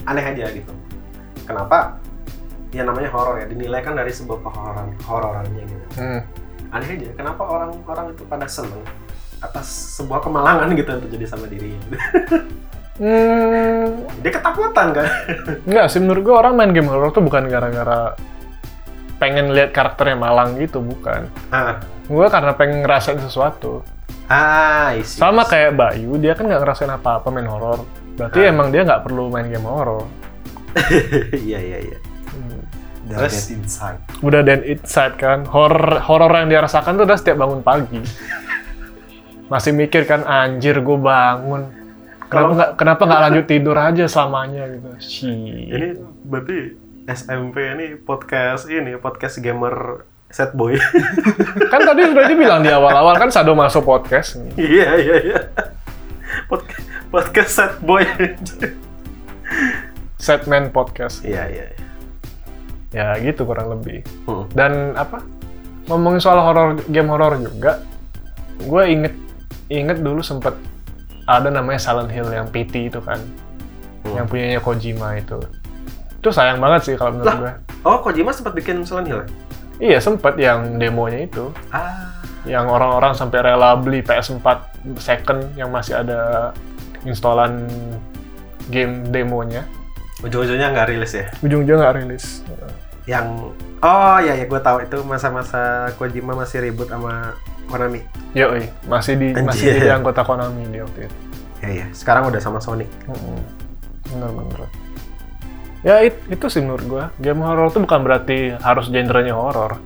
[SPEAKER 1] aneh aja gitu kenapa ya namanya horor ya dinilai kan dari sebuah hororan hororannya gitu
[SPEAKER 2] Hmm.
[SPEAKER 1] aneh aja kenapa orang-orang itu pada seneng atas sebuah kemalangan gitu yang terjadi sama dirinya
[SPEAKER 2] Hmm.
[SPEAKER 1] dia ketakutan kan
[SPEAKER 2] Enggak sih menurut gue orang main game horror tuh bukan gara-gara pengen lihat karakternya malang gitu bukan.
[SPEAKER 1] ah
[SPEAKER 2] Gue karena pengen ngerasain sesuatu.
[SPEAKER 1] Ah, isi.
[SPEAKER 2] Sama kayak Bayu, dia kan nggak ngerasain apa-apa main horor. Berarti
[SPEAKER 1] Ah.
[SPEAKER 2] emang dia nggak perlu main game horor.
[SPEAKER 1] Iya, iya, iya.
[SPEAKER 2] Hmm.
[SPEAKER 3] Dan
[SPEAKER 1] Terus?
[SPEAKER 3] get inside.
[SPEAKER 2] Udah dan inside kan, horor horor yang dia rasakan tuh udah setiap bangun pagi. Masih mikir kan, anjir gue bangun. Kenapa
[SPEAKER 1] Kalau-
[SPEAKER 2] nggak kenapa nggak lanjut tidur aja selamanya gitu? Shit.
[SPEAKER 1] Ini berarti SMP ini podcast ini podcast gamer set boy.
[SPEAKER 2] kan tadi sudah dibilang di awal-awal kan Sado masuk podcast nih.
[SPEAKER 1] Iya, iya, iya. Podcast, podcast set boy.
[SPEAKER 2] Setman podcast.
[SPEAKER 1] Iya, iya. iya.
[SPEAKER 2] Ya gitu kurang lebih.
[SPEAKER 1] Hmm.
[SPEAKER 2] Dan apa? Ngomongin soal horor game horor juga, gue inget inget dulu sempet ada namanya Silent Hill yang PT itu kan,
[SPEAKER 1] Hmm.
[SPEAKER 2] yang punyanya Kojima itu. Itu sayang banget sih kalau menurut
[SPEAKER 1] Lah.
[SPEAKER 2] gue.
[SPEAKER 1] Oh, Kojima sempat bikin Silent Hill. ya?
[SPEAKER 2] Iya sempet yang demonya itu,
[SPEAKER 1] Ah,
[SPEAKER 2] yang orang-orang sampai rela beli PS4 second yang masih ada instalan game demonya.
[SPEAKER 1] ujung-ujungnya nggak rilis ya.
[SPEAKER 2] Ujung-ujungnya nggak rilis.
[SPEAKER 1] Yang Oh, iya, ya gue tahu itu masa-masa Kojima masih ribut sama Konami.
[SPEAKER 2] Yoi, masih di masih
[SPEAKER 1] Anjir.
[SPEAKER 2] jadi anggota Konami dia waktu itu.
[SPEAKER 1] Iya, iya. Sekarang udah sama Sony.
[SPEAKER 2] Mm-mm. Bener bener. Ya it- itu sih menurut gua. Game horor tuh bukan berarti harus genrenya horor.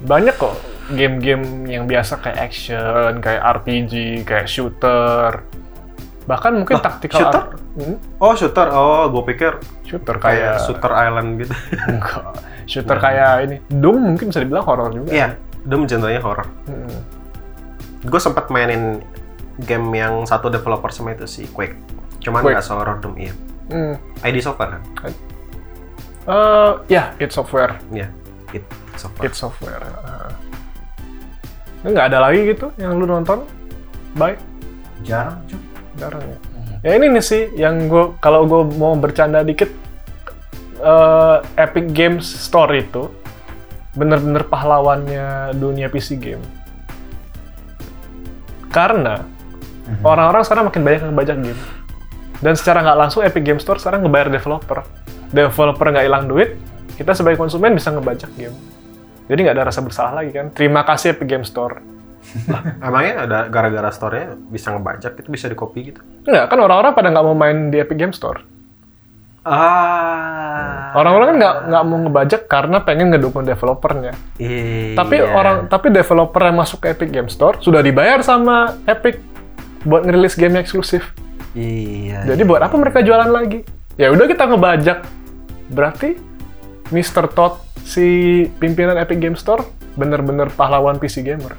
[SPEAKER 2] Banyak kok game-game yang biasa kayak action, kayak RPG, kayak shooter. Bahkan mungkin
[SPEAKER 1] Lah,
[SPEAKER 2] tactical
[SPEAKER 1] shooter?
[SPEAKER 2] ar- Hmm,
[SPEAKER 1] Oh, shooter. Oh, gue pikir
[SPEAKER 2] shooter
[SPEAKER 1] kayak
[SPEAKER 2] kayak
[SPEAKER 1] Shooter Island gitu.
[SPEAKER 2] Enggak. Shooter kayak ini. Doom mungkin bisa dibilang horor juga. Hmm.
[SPEAKER 1] Iya, Doom genre-nya horror.
[SPEAKER 2] Mm-mm.
[SPEAKER 1] Gue sempat mainin game yang satu developer sama itu si Quake. Cuman
[SPEAKER 2] Quake.
[SPEAKER 1] nggak sehoror Doom iya.
[SPEAKER 2] Mm.
[SPEAKER 1] ID Software kan?
[SPEAKER 2] Eh, ya, it software.
[SPEAKER 1] Iya, It Software.
[SPEAKER 2] Kid Software. Heeh. Ini nggak ada lagi gitu yang lu nonton? Bye.
[SPEAKER 3] Jarang juga.
[SPEAKER 2] Jarang ya. Ya ini nih sih yang gue kalau gue mau bercanda dikit eh, Epic Games Store itu bener-bener pahlawannya dunia PC game. Karena orang-orang sekarang makin banyak yang ngebajak game. Dan secara nggak langsung Epic Games Store sekarang ngebayar developer. Developer nggak hilang duit, kita sebagai konsumen bisa ngebajak game. Jadi nggak ada rasa bersalah lagi kan. Terima kasih Epic Games Store.
[SPEAKER 1] Emangnya ada gara-gara store-nya bisa ngebajak itu bisa dikopi gitu?
[SPEAKER 2] Nggak, kan orang-orang pada nggak mau main di Epic Games Store.
[SPEAKER 1] Ah.
[SPEAKER 2] Orang-orang kan nggak nggak mau ngebajak karena pengen ngedukung developernya.
[SPEAKER 1] Iya.
[SPEAKER 2] Tapi orang tapi developer yang masuk ke Epic Game Store sudah dibayar sama Epic buat ngerilis game eksklusif.
[SPEAKER 1] Iya.
[SPEAKER 2] Jadi buat apa mereka jualan lagi? Ya udah kita ngebajak. Berarti Mr. Todd si pimpinan Epic Game Store bener-bener pahlawan PC gamer.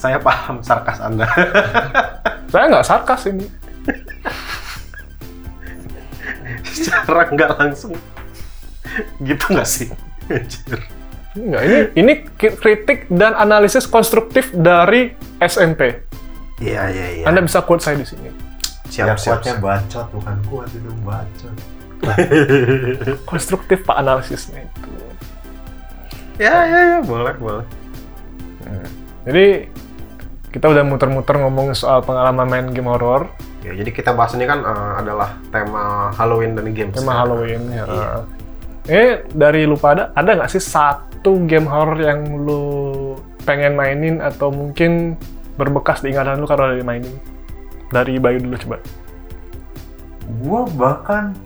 [SPEAKER 1] Saya paham sarkas Anda.
[SPEAKER 2] Saya nggak sarkas ini.
[SPEAKER 1] Secara nggak langsung. Gitu nggak sih? Anjir.
[SPEAKER 2] Nggak, ini ini ki- kritik dan analisis konstruktif dari SMP.
[SPEAKER 1] Iya, iya, iya.
[SPEAKER 2] Anda bisa quote saya di sini.
[SPEAKER 1] siap,
[SPEAKER 3] yang
[SPEAKER 1] siap,
[SPEAKER 3] Ya, kuatnya
[SPEAKER 1] siap.
[SPEAKER 3] bacot, bukan kuat itu bacot.
[SPEAKER 2] Konstruktif pak analisisnya itu.
[SPEAKER 1] Ya, ya, ya, boleh, boleh.
[SPEAKER 2] Jadi kita udah muter-muter ngomongin soal pengalaman main game horor,
[SPEAKER 1] Ya, jadi kita bahas ini kan eh, adalah tema Halloween dan games.
[SPEAKER 2] tema Halloween.
[SPEAKER 3] Iya.
[SPEAKER 2] Ya. Eh dari lu pada ada nggak sih satu game horor yang lu pengen mainin atau mungkin berbekas di ingatan lu karena udah dimainin? Dari Bayu dulu coba.
[SPEAKER 3] Gua bahkan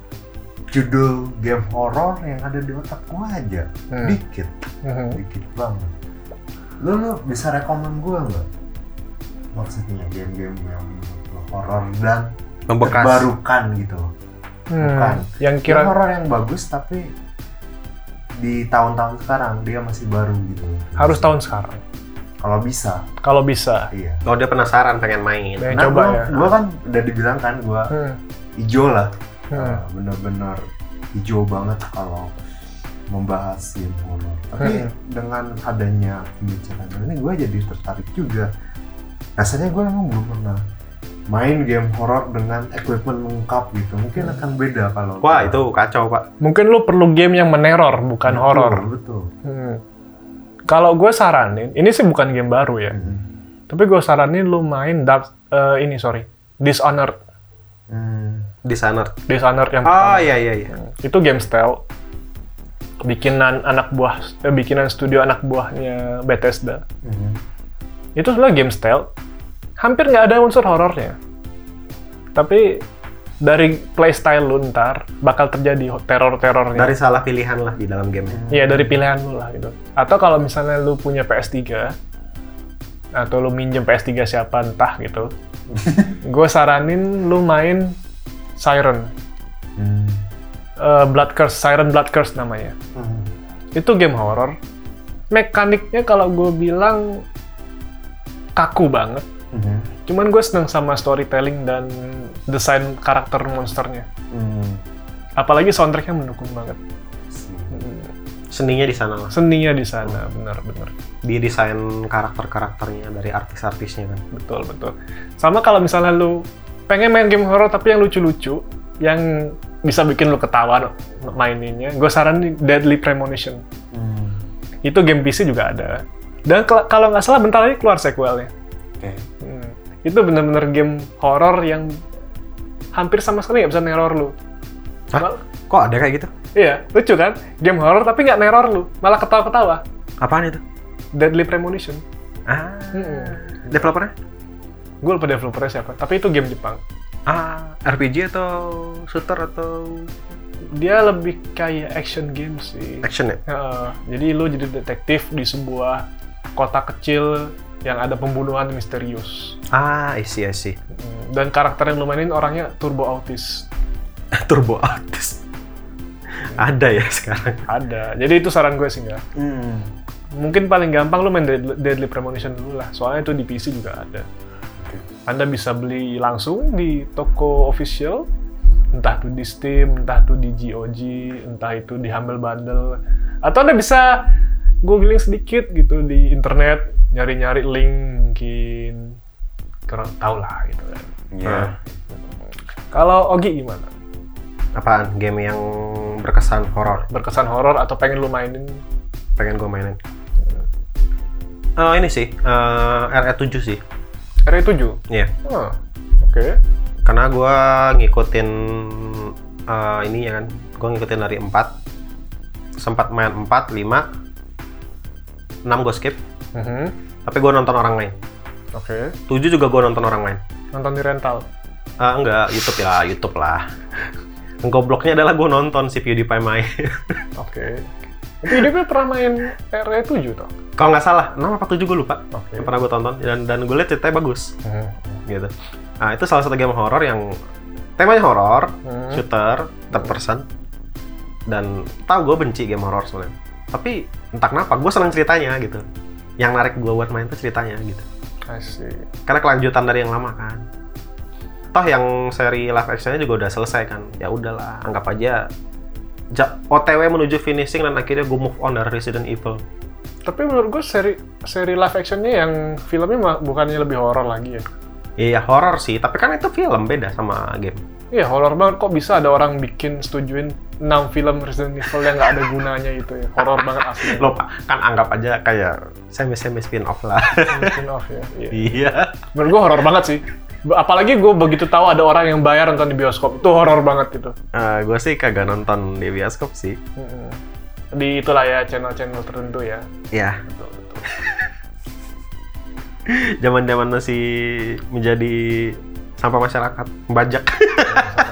[SPEAKER 3] judul game horor yang ada di otak gua aja
[SPEAKER 2] Hmm.
[SPEAKER 3] dikit, dikit banget. Lu lu bisa rekomen gua nggak? Maksudnya game-game yang horor dan
[SPEAKER 1] Membekas.
[SPEAKER 3] terbarukan gitu. loh.
[SPEAKER 2] Hmm,
[SPEAKER 3] Bukan.
[SPEAKER 2] Yang kira
[SPEAKER 3] Kira horor yang bagus tapi di tahun-tahun sekarang dia masih baru gitu.
[SPEAKER 2] harus tahun sekarang.
[SPEAKER 3] Kalau bisa,
[SPEAKER 2] Kalau bisa.
[SPEAKER 3] iya.
[SPEAKER 1] Oh, dia penasaran pengen main.
[SPEAKER 2] Pengen
[SPEAKER 3] Nah,
[SPEAKER 2] coba
[SPEAKER 3] gua,
[SPEAKER 2] ya.
[SPEAKER 3] gua kan udah dibilang kan gua
[SPEAKER 2] Hmm,
[SPEAKER 3] hijau lah.
[SPEAKER 2] hmm.
[SPEAKER 3] Nah, bener-bener hijau banget kalau membahas game horor. Tapi
[SPEAKER 2] Hmm.
[SPEAKER 3] dengan adanya pembicaraan ini gue jadi tertarik juga. Rasanya gue emang belum pernah main game horor dengan equipment lengkap gitu. Mungkin
[SPEAKER 2] Hmm.
[SPEAKER 3] akan beda kalau
[SPEAKER 1] Wah, itu kacau, Pak.
[SPEAKER 2] Mungkin lu perlu game yang meneror, bukan
[SPEAKER 3] Betul,
[SPEAKER 2] horor.
[SPEAKER 3] Betul.
[SPEAKER 2] Hmm. Kalau gue saranin, ini sih bukan game baru ya.
[SPEAKER 3] Hmm.
[SPEAKER 2] Tapi gue saranin lu main Dark, eh, ini sorry, Dishonored.
[SPEAKER 3] Hmm.
[SPEAKER 1] Dishonored.
[SPEAKER 2] Dishonored yang
[SPEAKER 1] Oh,
[SPEAKER 2] pertama.
[SPEAKER 1] iya, iya, iya.
[SPEAKER 2] Itu game stealth. Bikinan anak buah, eh, bikinan studio anak buahnya Bethesda.
[SPEAKER 3] Hmm.
[SPEAKER 2] itu sebenarnya game stealth hampir nggak ada unsur horornya tapi dari playstyle lu ntar bakal terjadi teror-terornya
[SPEAKER 1] Dari salah pilihan lah di dalam game.
[SPEAKER 2] Iya dari pilihan lu lah gitu. Atau kalau misalnya lu punya PS3 atau lu minjem PS3 siapa entah gitu. gue saranin lu main Siren.
[SPEAKER 3] hmm,
[SPEAKER 2] Eh, Blood Curse, Siren Blood Curse namanya. Itu game horror. Mekaniknya kalau gue bilang kaku banget.
[SPEAKER 3] hmm,
[SPEAKER 2] Cuman gue seneng sama storytelling dan desain karakter monsternya.
[SPEAKER 3] hmm,
[SPEAKER 2] Apalagi soundtracknya mendukung banget.
[SPEAKER 1] Seninya di sana lah.
[SPEAKER 2] Seninya di sana, benar-benar.
[SPEAKER 1] Di desain karakter-karakternya dari artis-artisnya kan.
[SPEAKER 2] betul betul sama kalau misalnya lu pengen main game horror tapi yang lucu-lucu yang bisa bikin lu ketawa maininnya gue saranin Deadly Premonition
[SPEAKER 3] hmm.
[SPEAKER 2] itu game PC juga ada dan kel- kalau nggak salah bentar lagi keluar sequelnya
[SPEAKER 3] Oke.
[SPEAKER 2] Hmm. itu bener-bener game horror yang hampir sama sekali nggak bisa neror lu
[SPEAKER 1] Hah? Kok ada kayak gitu?
[SPEAKER 2] iya lucu kan game horror tapi nggak neror lu malah ketawa-ketawa
[SPEAKER 1] Apaan itu?
[SPEAKER 2] Deadly Premonition
[SPEAKER 1] Ah,
[SPEAKER 2] Mm-mm.
[SPEAKER 1] developernya?
[SPEAKER 2] gue lupa developernya siapa tapi itu game Jepang
[SPEAKER 1] Ah, RPG atau shooter atau
[SPEAKER 2] dia lebih kayak action game sih
[SPEAKER 1] action ya?
[SPEAKER 2] Heeh. jadi lu jadi detektif di sebuah kota kecil yang ada pembunuhan misterius.
[SPEAKER 1] Ah, I see, I see.
[SPEAKER 2] Hmm, Dan karakter yang lu mainin orangnya turbo autis.
[SPEAKER 1] Turbo artis. ada ya sekarang.
[SPEAKER 2] Ada. Jadi itu saran gue sih ya.
[SPEAKER 1] Hmm,
[SPEAKER 2] Mungkin paling gampang lu main Deadly, Deadly Premonition dulu lah. Soalnya itu di PC juga ada. Anda bisa beli langsung di toko official. Entah itu di Steam, entah itu di GOG, entah itu di Humble Bundle. Atau Anda bisa googling sedikit gitu di internet. Nyari-nyari link mungkin. Kurang tau lah gitu kan.
[SPEAKER 1] Ah.
[SPEAKER 3] Iya.
[SPEAKER 2] Kalau Ogi gimana?
[SPEAKER 1] Apaan? Game yang berkesan horor.
[SPEAKER 2] Berkesan horor atau pengen lu mainin?
[SPEAKER 1] Pengen gue mainin. Eh, ini sih, eh, RE7 sih.
[SPEAKER 2] R7?
[SPEAKER 1] Iya.
[SPEAKER 2] Hmm, oke.
[SPEAKER 1] Karena gue ngikutin eh, ini ya kan. Gue ngikutin dari 4. Sempat main 4, 5. 6 gue skip.
[SPEAKER 2] Mhm,
[SPEAKER 1] Tapi gue nonton orang lain.
[SPEAKER 2] Oke.
[SPEAKER 1] 7 juga gue nonton orang lain.
[SPEAKER 2] Nonton di rental.
[SPEAKER 1] Ah, enggak, YouTube ya, YouTube lah. Yang Gobloknya adalah gue nonton si PewDiePie main.
[SPEAKER 2] Oke. Tapi dia pernah main R7 toh?
[SPEAKER 1] Kalau nggak salah, 6 apa 7 gue lupa.
[SPEAKER 2] Oke.
[SPEAKER 1] Yang pernah gue tonton dan dan gue liat ceritanya bagus
[SPEAKER 2] Mhm.
[SPEAKER 1] gitu. Nah, itu salah satu game horor yang temanya horor,
[SPEAKER 2] Hmm.
[SPEAKER 1] shooter, third person. Dan tahu gue benci game horor sebenarnya. Tapi entah kenapa gue senang ceritanya gitu. Yang narik gue buat main tuh ceritanya gitu.
[SPEAKER 2] I see.
[SPEAKER 1] Karena kelanjutan dari yang lama kan. Toh yang seri live actionnya juga udah selesai kan. Ya udahlah, anggap aja ja- OTW menuju finishing dan akhirnya gue move on dari Resident Evil.
[SPEAKER 2] Tapi menurut gue seri seri live actionnya yang filmnya mah bukannya lebih horor lagi ya?
[SPEAKER 1] Iya horor sih, tapi kan itu film beda sama game.
[SPEAKER 2] Iya horor banget. Kok bisa ada orang bikin setujuin 6 film Resident Evil yang nggak ada gunanya itu ya? Horor banget asli.
[SPEAKER 1] Lo kan anggap aja kayak semi-semi spin off lah.
[SPEAKER 2] Mungkin off ya. Iya.
[SPEAKER 1] iya.
[SPEAKER 2] Menurut gue horor banget sih. Ba- Apalagi gue begitu tahu ada orang yang bayar nonton di bioskop itu horor banget gitu.
[SPEAKER 1] gue Eh, sih kagak nonton di bioskop sih.
[SPEAKER 2] Mm-mm. Di itulah ya channel-channel tertentu ya.
[SPEAKER 1] Ya,
[SPEAKER 2] Betul betul.
[SPEAKER 1] zaman-zaman masih menjadi sampah masyarakat, bajak.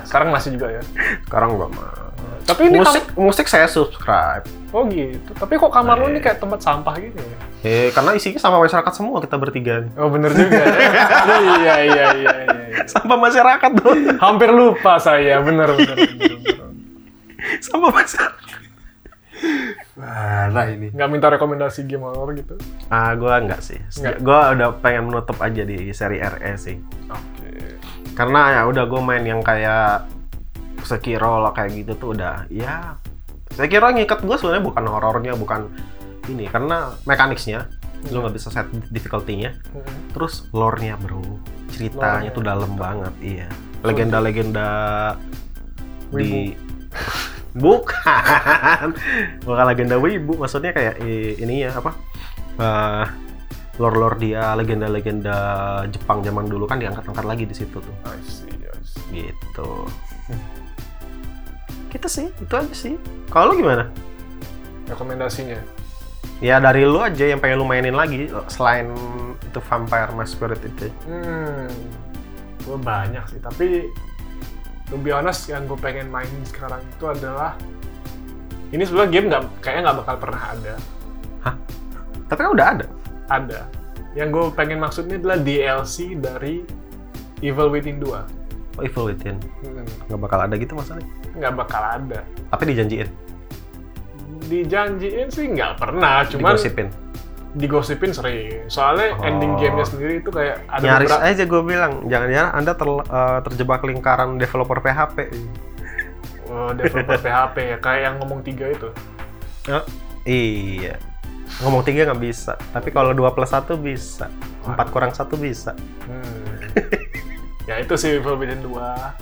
[SPEAKER 2] Sekarang masih juga ya.
[SPEAKER 1] Sekarang gak mau.
[SPEAKER 2] Tapi ini
[SPEAKER 1] Musik, musik saya subscribe.
[SPEAKER 2] Oh gitu. Tapi kok kamar lu ini kayak tempat sampah gitu ya?
[SPEAKER 1] Eh, karena isinya sama masyarakat semua kita bertiga nih.
[SPEAKER 2] Oh bener juga. ya. iya, iya, iya, iya, iya.
[SPEAKER 1] Sama masyarakat dong.
[SPEAKER 2] Hampir lupa saya, bener, bener. bener, bener.
[SPEAKER 1] Sama masyarakat. Mana ini?
[SPEAKER 2] Nggak minta rekomendasi game horror gitu.
[SPEAKER 1] Ah, gua enggak sih.
[SPEAKER 2] Nggak.
[SPEAKER 1] Gua udah pengen menutup aja di seri RE sih.
[SPEAKER 2] Oke.
[SPEAKER 1] Karena ya udah gua main yang kayak Sekiro lah kayak gitu tuh udah ya Sekiro ngikat gua sebenarnya bukan horornya, bukan ini karena mekaniknya lu
[SPEAKER 2] Iya.
[SPEAKER 1] nggak bisa set difficulty-nya.
[SPEAKER 2] Mm-mm.
[SPEAKER 1] Terus lore-nya, Bro. Ceritanya
[SPEAKER 2] Lore-nya.
[SPEAKER 1] tuh dalam banget, iya. Legenda-legenda di bukan bukan legenda wibu maksudnya kayak eh, ini ya apa eh lore-lore dia legenda-legenda Jepang zaman dulu kan diangkat-angkat lagi di situ tuh
[SPEAKER 2] I see, I see.
[SPEAKER 1] gitu kita sih itu aja sih kalau lu gimana
[SPEAKER 2] Rekomendasinya.
[SPEAKER 1] Ya dari lu aja yang pengen lu mainin lagi selain itu Vampire Masquerade itu.
[SPEAKER 2] Hmm, gue banyak sih, tapi to be honest yang gue pengen mainin sekarang itu adalah ini sebenarnya game nggak kayaknya nggak bakal pernah ada
[SPEAKER 1] Hah? Tapi kan udah ada.
[SPEAKER 2] ada yang gue pengen maksudnya adalah DLC dari Evil Within 2
[SPEAKER 1] Oh, Evil Within.
[SPEAKER 2] Hmm,
[SPEAKER 1] Nggak bakal ada gitu maksudnya.
[SPEAKER 2] nggak bakal ada
[SPEAKER 1] Tapi dijanjiin,
[SPEAKER 2] dijanjiin sih nggak pernah cuman
[SPEAKER 1] digosipin.
[SPEAKER 2] digosipin sering soalnya
[SPEAKER 1] Oh.
[SPEAKER 2] ending gamenya sendiri itu kayak ada
[SPEAKER 1] Nyaris
[SPEAKER 2] beberapa
[SPEAKER 1] aja gue bilang, jangan-jangan Anda ter- eh, terjebak lingkaran developer PHP.
[SPEAKER 2] Oh, developer PHP ya kayak yang ngomong tiga itu
[SPEAKER 1] Eh, iya. Ngomong tiga nggak bisa, tapi kalau 2 plus 1 bisa. 4 kurang 1 bisa.
[SPEAKER 2] Hmm. ya itu sih Evil Within 2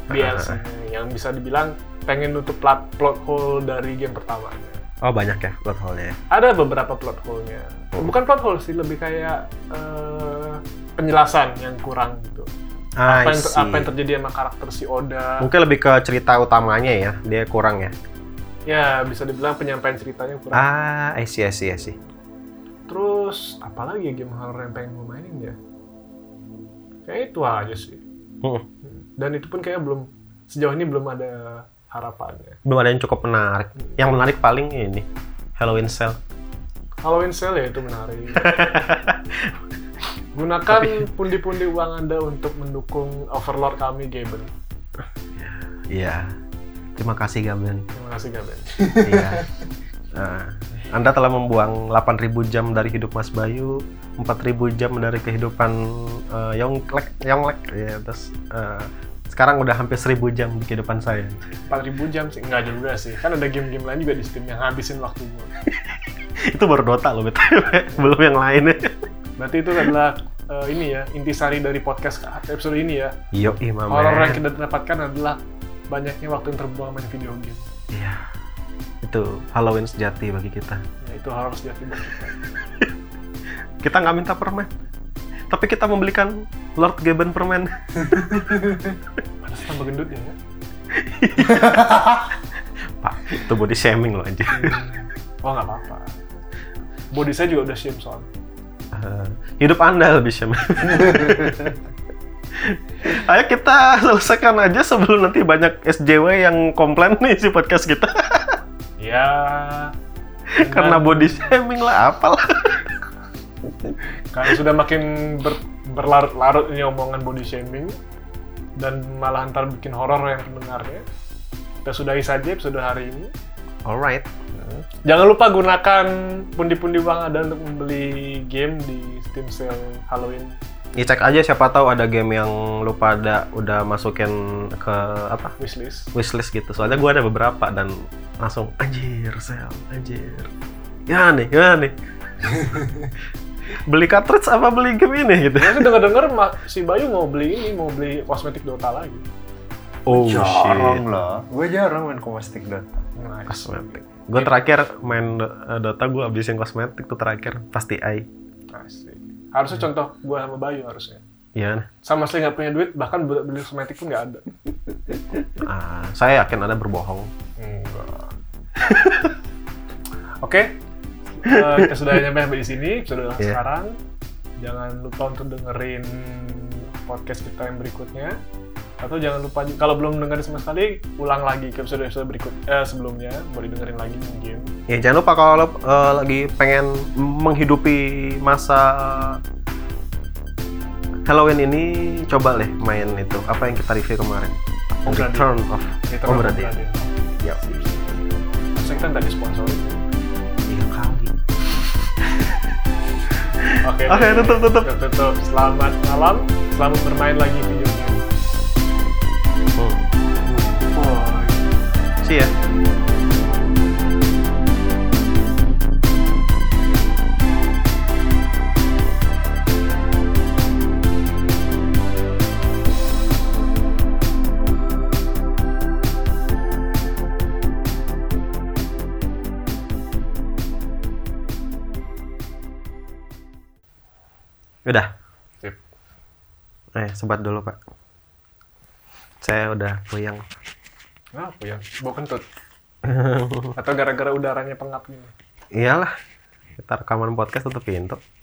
[SPEAKER 2] DLC yang bisa dibilang pengen nutup plot, plot hole dari game pertamanya.
[SPEAKER 1] Oh banyak ya plot hole-nya. ya.
[SPEAKER 2] Ada beberapa plot hole-nya. Bukan plot hole sih, lebih kayak eh, penjelasan yang kurang gitu.
[SPEAKER 1] Ah,
[SPEAKER 2] Apa yang,
[SPEAKER 1] I see.
[SPEAKER 2] apa yang terjadi sama karakter si Oda?
[SPEAKER 1] Mungkin lebih ke cerita utamanya ya, dia kurang ya.
[SPEAKER 2] Ya, bisa dibilang penyampaian ceritanya kurang.
[SPEAKER 1] Ah, I see, I see, I see.
[SPEAKER 2] Terus, apalagi ya game horror yang pengen gue mainin ya? Kayak itu aja sih.
[SPEAKER 1] Hmm.
[SPEAKER 2] Dan itu pun kayaknya belum, sejauh ini belum ada harapannya.
[SPEAKER 1] Belum ada yang cukup menarik. Yang menarik paling ini, Halloween Sale.
[SPEAKER 2] Halloween sale ya itu menarik. Gunakan pundi-pundi uang Anda untuk mendukung Overlord kami, Gaben.
[SPEAKER 1] Iya. Terima kasih Gaben.
[SPEAKER 2] Terima kasih, Gaben.
[SPEAKER 1] Iya. Nah, Anda telah membuang 8.000 jam dari hidup Mas Bayu, 4.000 jam dari kehidupan eh, Yonglek, Yonglek. Ya, terus eh, sekarang udah hampir 1.000 jam di kehidupan saya.
[SPEAKER 2] 4000 jam sih, nggak juga sih. Kan ada game-game lain juga di Steam yang habisin waktu gua.
[SPEAKER 1] Itu baru Dota loh, BTW. Belum yang lainnya.
[SPEAKER 2] Berarti itu adalah eh, ini ya, intisari dari podcast episode ini ya.
[SPEAKER 1] Yo,
[SPEAKER 2] Horror yang
[SPEAKER 1] Imam.
[SPEAKER 2] kita dapatkan adalah banyaknya waktu yang terbuang main video game.
[SPEAKER 1] Iya. Itu Halloween sejati bagi kita.
[SPEAKER 2] Ya, itu horror sejati buat kita.
[SPEAKER 1] Kita nggak minta permen. Tapi kita membelikan Lord Gaben permen.
[SPEAKER 2] Ada tambah gendutnya ya.
[SPEAKER 1] Pak, itu body shaming loh anjir.
[SPEAKER 2] Oh, nggak apa-apa. Body saya juga udah shame soalnya.
[SPEAKER 1] Eh, hidup Anda lebih syam. Ayo kita selesaikan aja sebelum nanti banyak SJW yang komplain nih si podcast kita
[SPEAKER 2] Ya.
[SPEAKER 1] karena
[SPEAKER 2] dengan-
[SPEAKER 1] body shaming lah apalah.
[SPEAKER 2] Karena sudah makin ber- berlarut-larut ini omongan body shaming dan malah ntar bikin horor yang pendengarnya. Kita sudahi saja episode hari ini.
[SPEAKER 1] Alright.
[SPEAKER 2] Jangan lupa gunakan pundi-pundi uang Anda untuk membeli game di Steam Sale Halloween.
[SPEAKER 1] Ya cek aja siapa tahu ada game yang lu pada udah masukin ke apa
[SPEAKER 2] Wishlist.
[SPEAKER 1] wishlist gitu. Soalnya gua ada beberapa dan langsung anjir sel, anjir. Ya nih, ya nih. beli cartridge apa beli game ini gitu.
[SPEAKER 2] Nanti denger-denger Ma- si Bayu mau beli ini, mau beli kosmetik Dota lagi.
[SPEAKER 1] Oh
[SPEAKER 3] jarang lah. Gue jarang main komestik data.
[SPEAKER 2] Nice.
[SPEAKER 1] kosmetik. Gue terakhir main do- eh, Dota gue abisin kosmetik tuh terakhir pasti AI.
[SPEAKER 2] Asik. Harusnya contoh gua sama Bayu harusnya.
[SPEAKER 1] Iya.
[SPEAKER 2] Sama sekali nggak punya duit, bahkan beli beli kosmetik pun nggak ada.
[SPEAKER 1] Ah, saya yakin ada berbohong.
[SPEAKER 2] Enggak. Oke, Eh, kita sudah nyampe di sini, sudah
[SPEAKER 1] Iya.
[SPEAKER 2] sekarang. Jangan lupa untuk dengerin podcast kita yang berikutnya. Atau jangan lupa ju- kalau belum dengerin sama sekali, ulang lagi ke episode-episode berikut eh, sebelumnya, boleh dengerin lagi mungkin.
[SPEAKER 1] Ya jangan lupa kalau lo, eh, lagi pengen menghidupi masa Halloween ini coba deh main itu apa yang kita review kemarin.
[SPEAKER 2] Obra Dinn.
[SPEAKER 1] Return of
[SPEAKER 2] Kita
[SPEAKER 1] Obra
[SPEAKER 2] berarti.
[SPEAKER 1] Dinn. Ya.
[SPEAKER 2] Harusnya kita nggak disponsor. Oke,
[SPEAKER 1] Tiga kali. Oke,
[SPEAKER 2] baik.
[SPEAKER 1] tutup, tutup.
[SPEAKER 2] Tutup. Selamat malam, selamat bermain lagi videonya.
[SPEAKER 1] Hmm. See ya. Udah,
[SPEAKER 2] Sip.
[SPEAKER 1] eh sebat dulu pak. Saya udah goyang.
[SPEAKER 2] Kenapa ya? Bau kentut. Atau gara-gara udaranya pengap gini.
[SPEAKER 1] Iyalah, kita rekaman podcast tutup pintu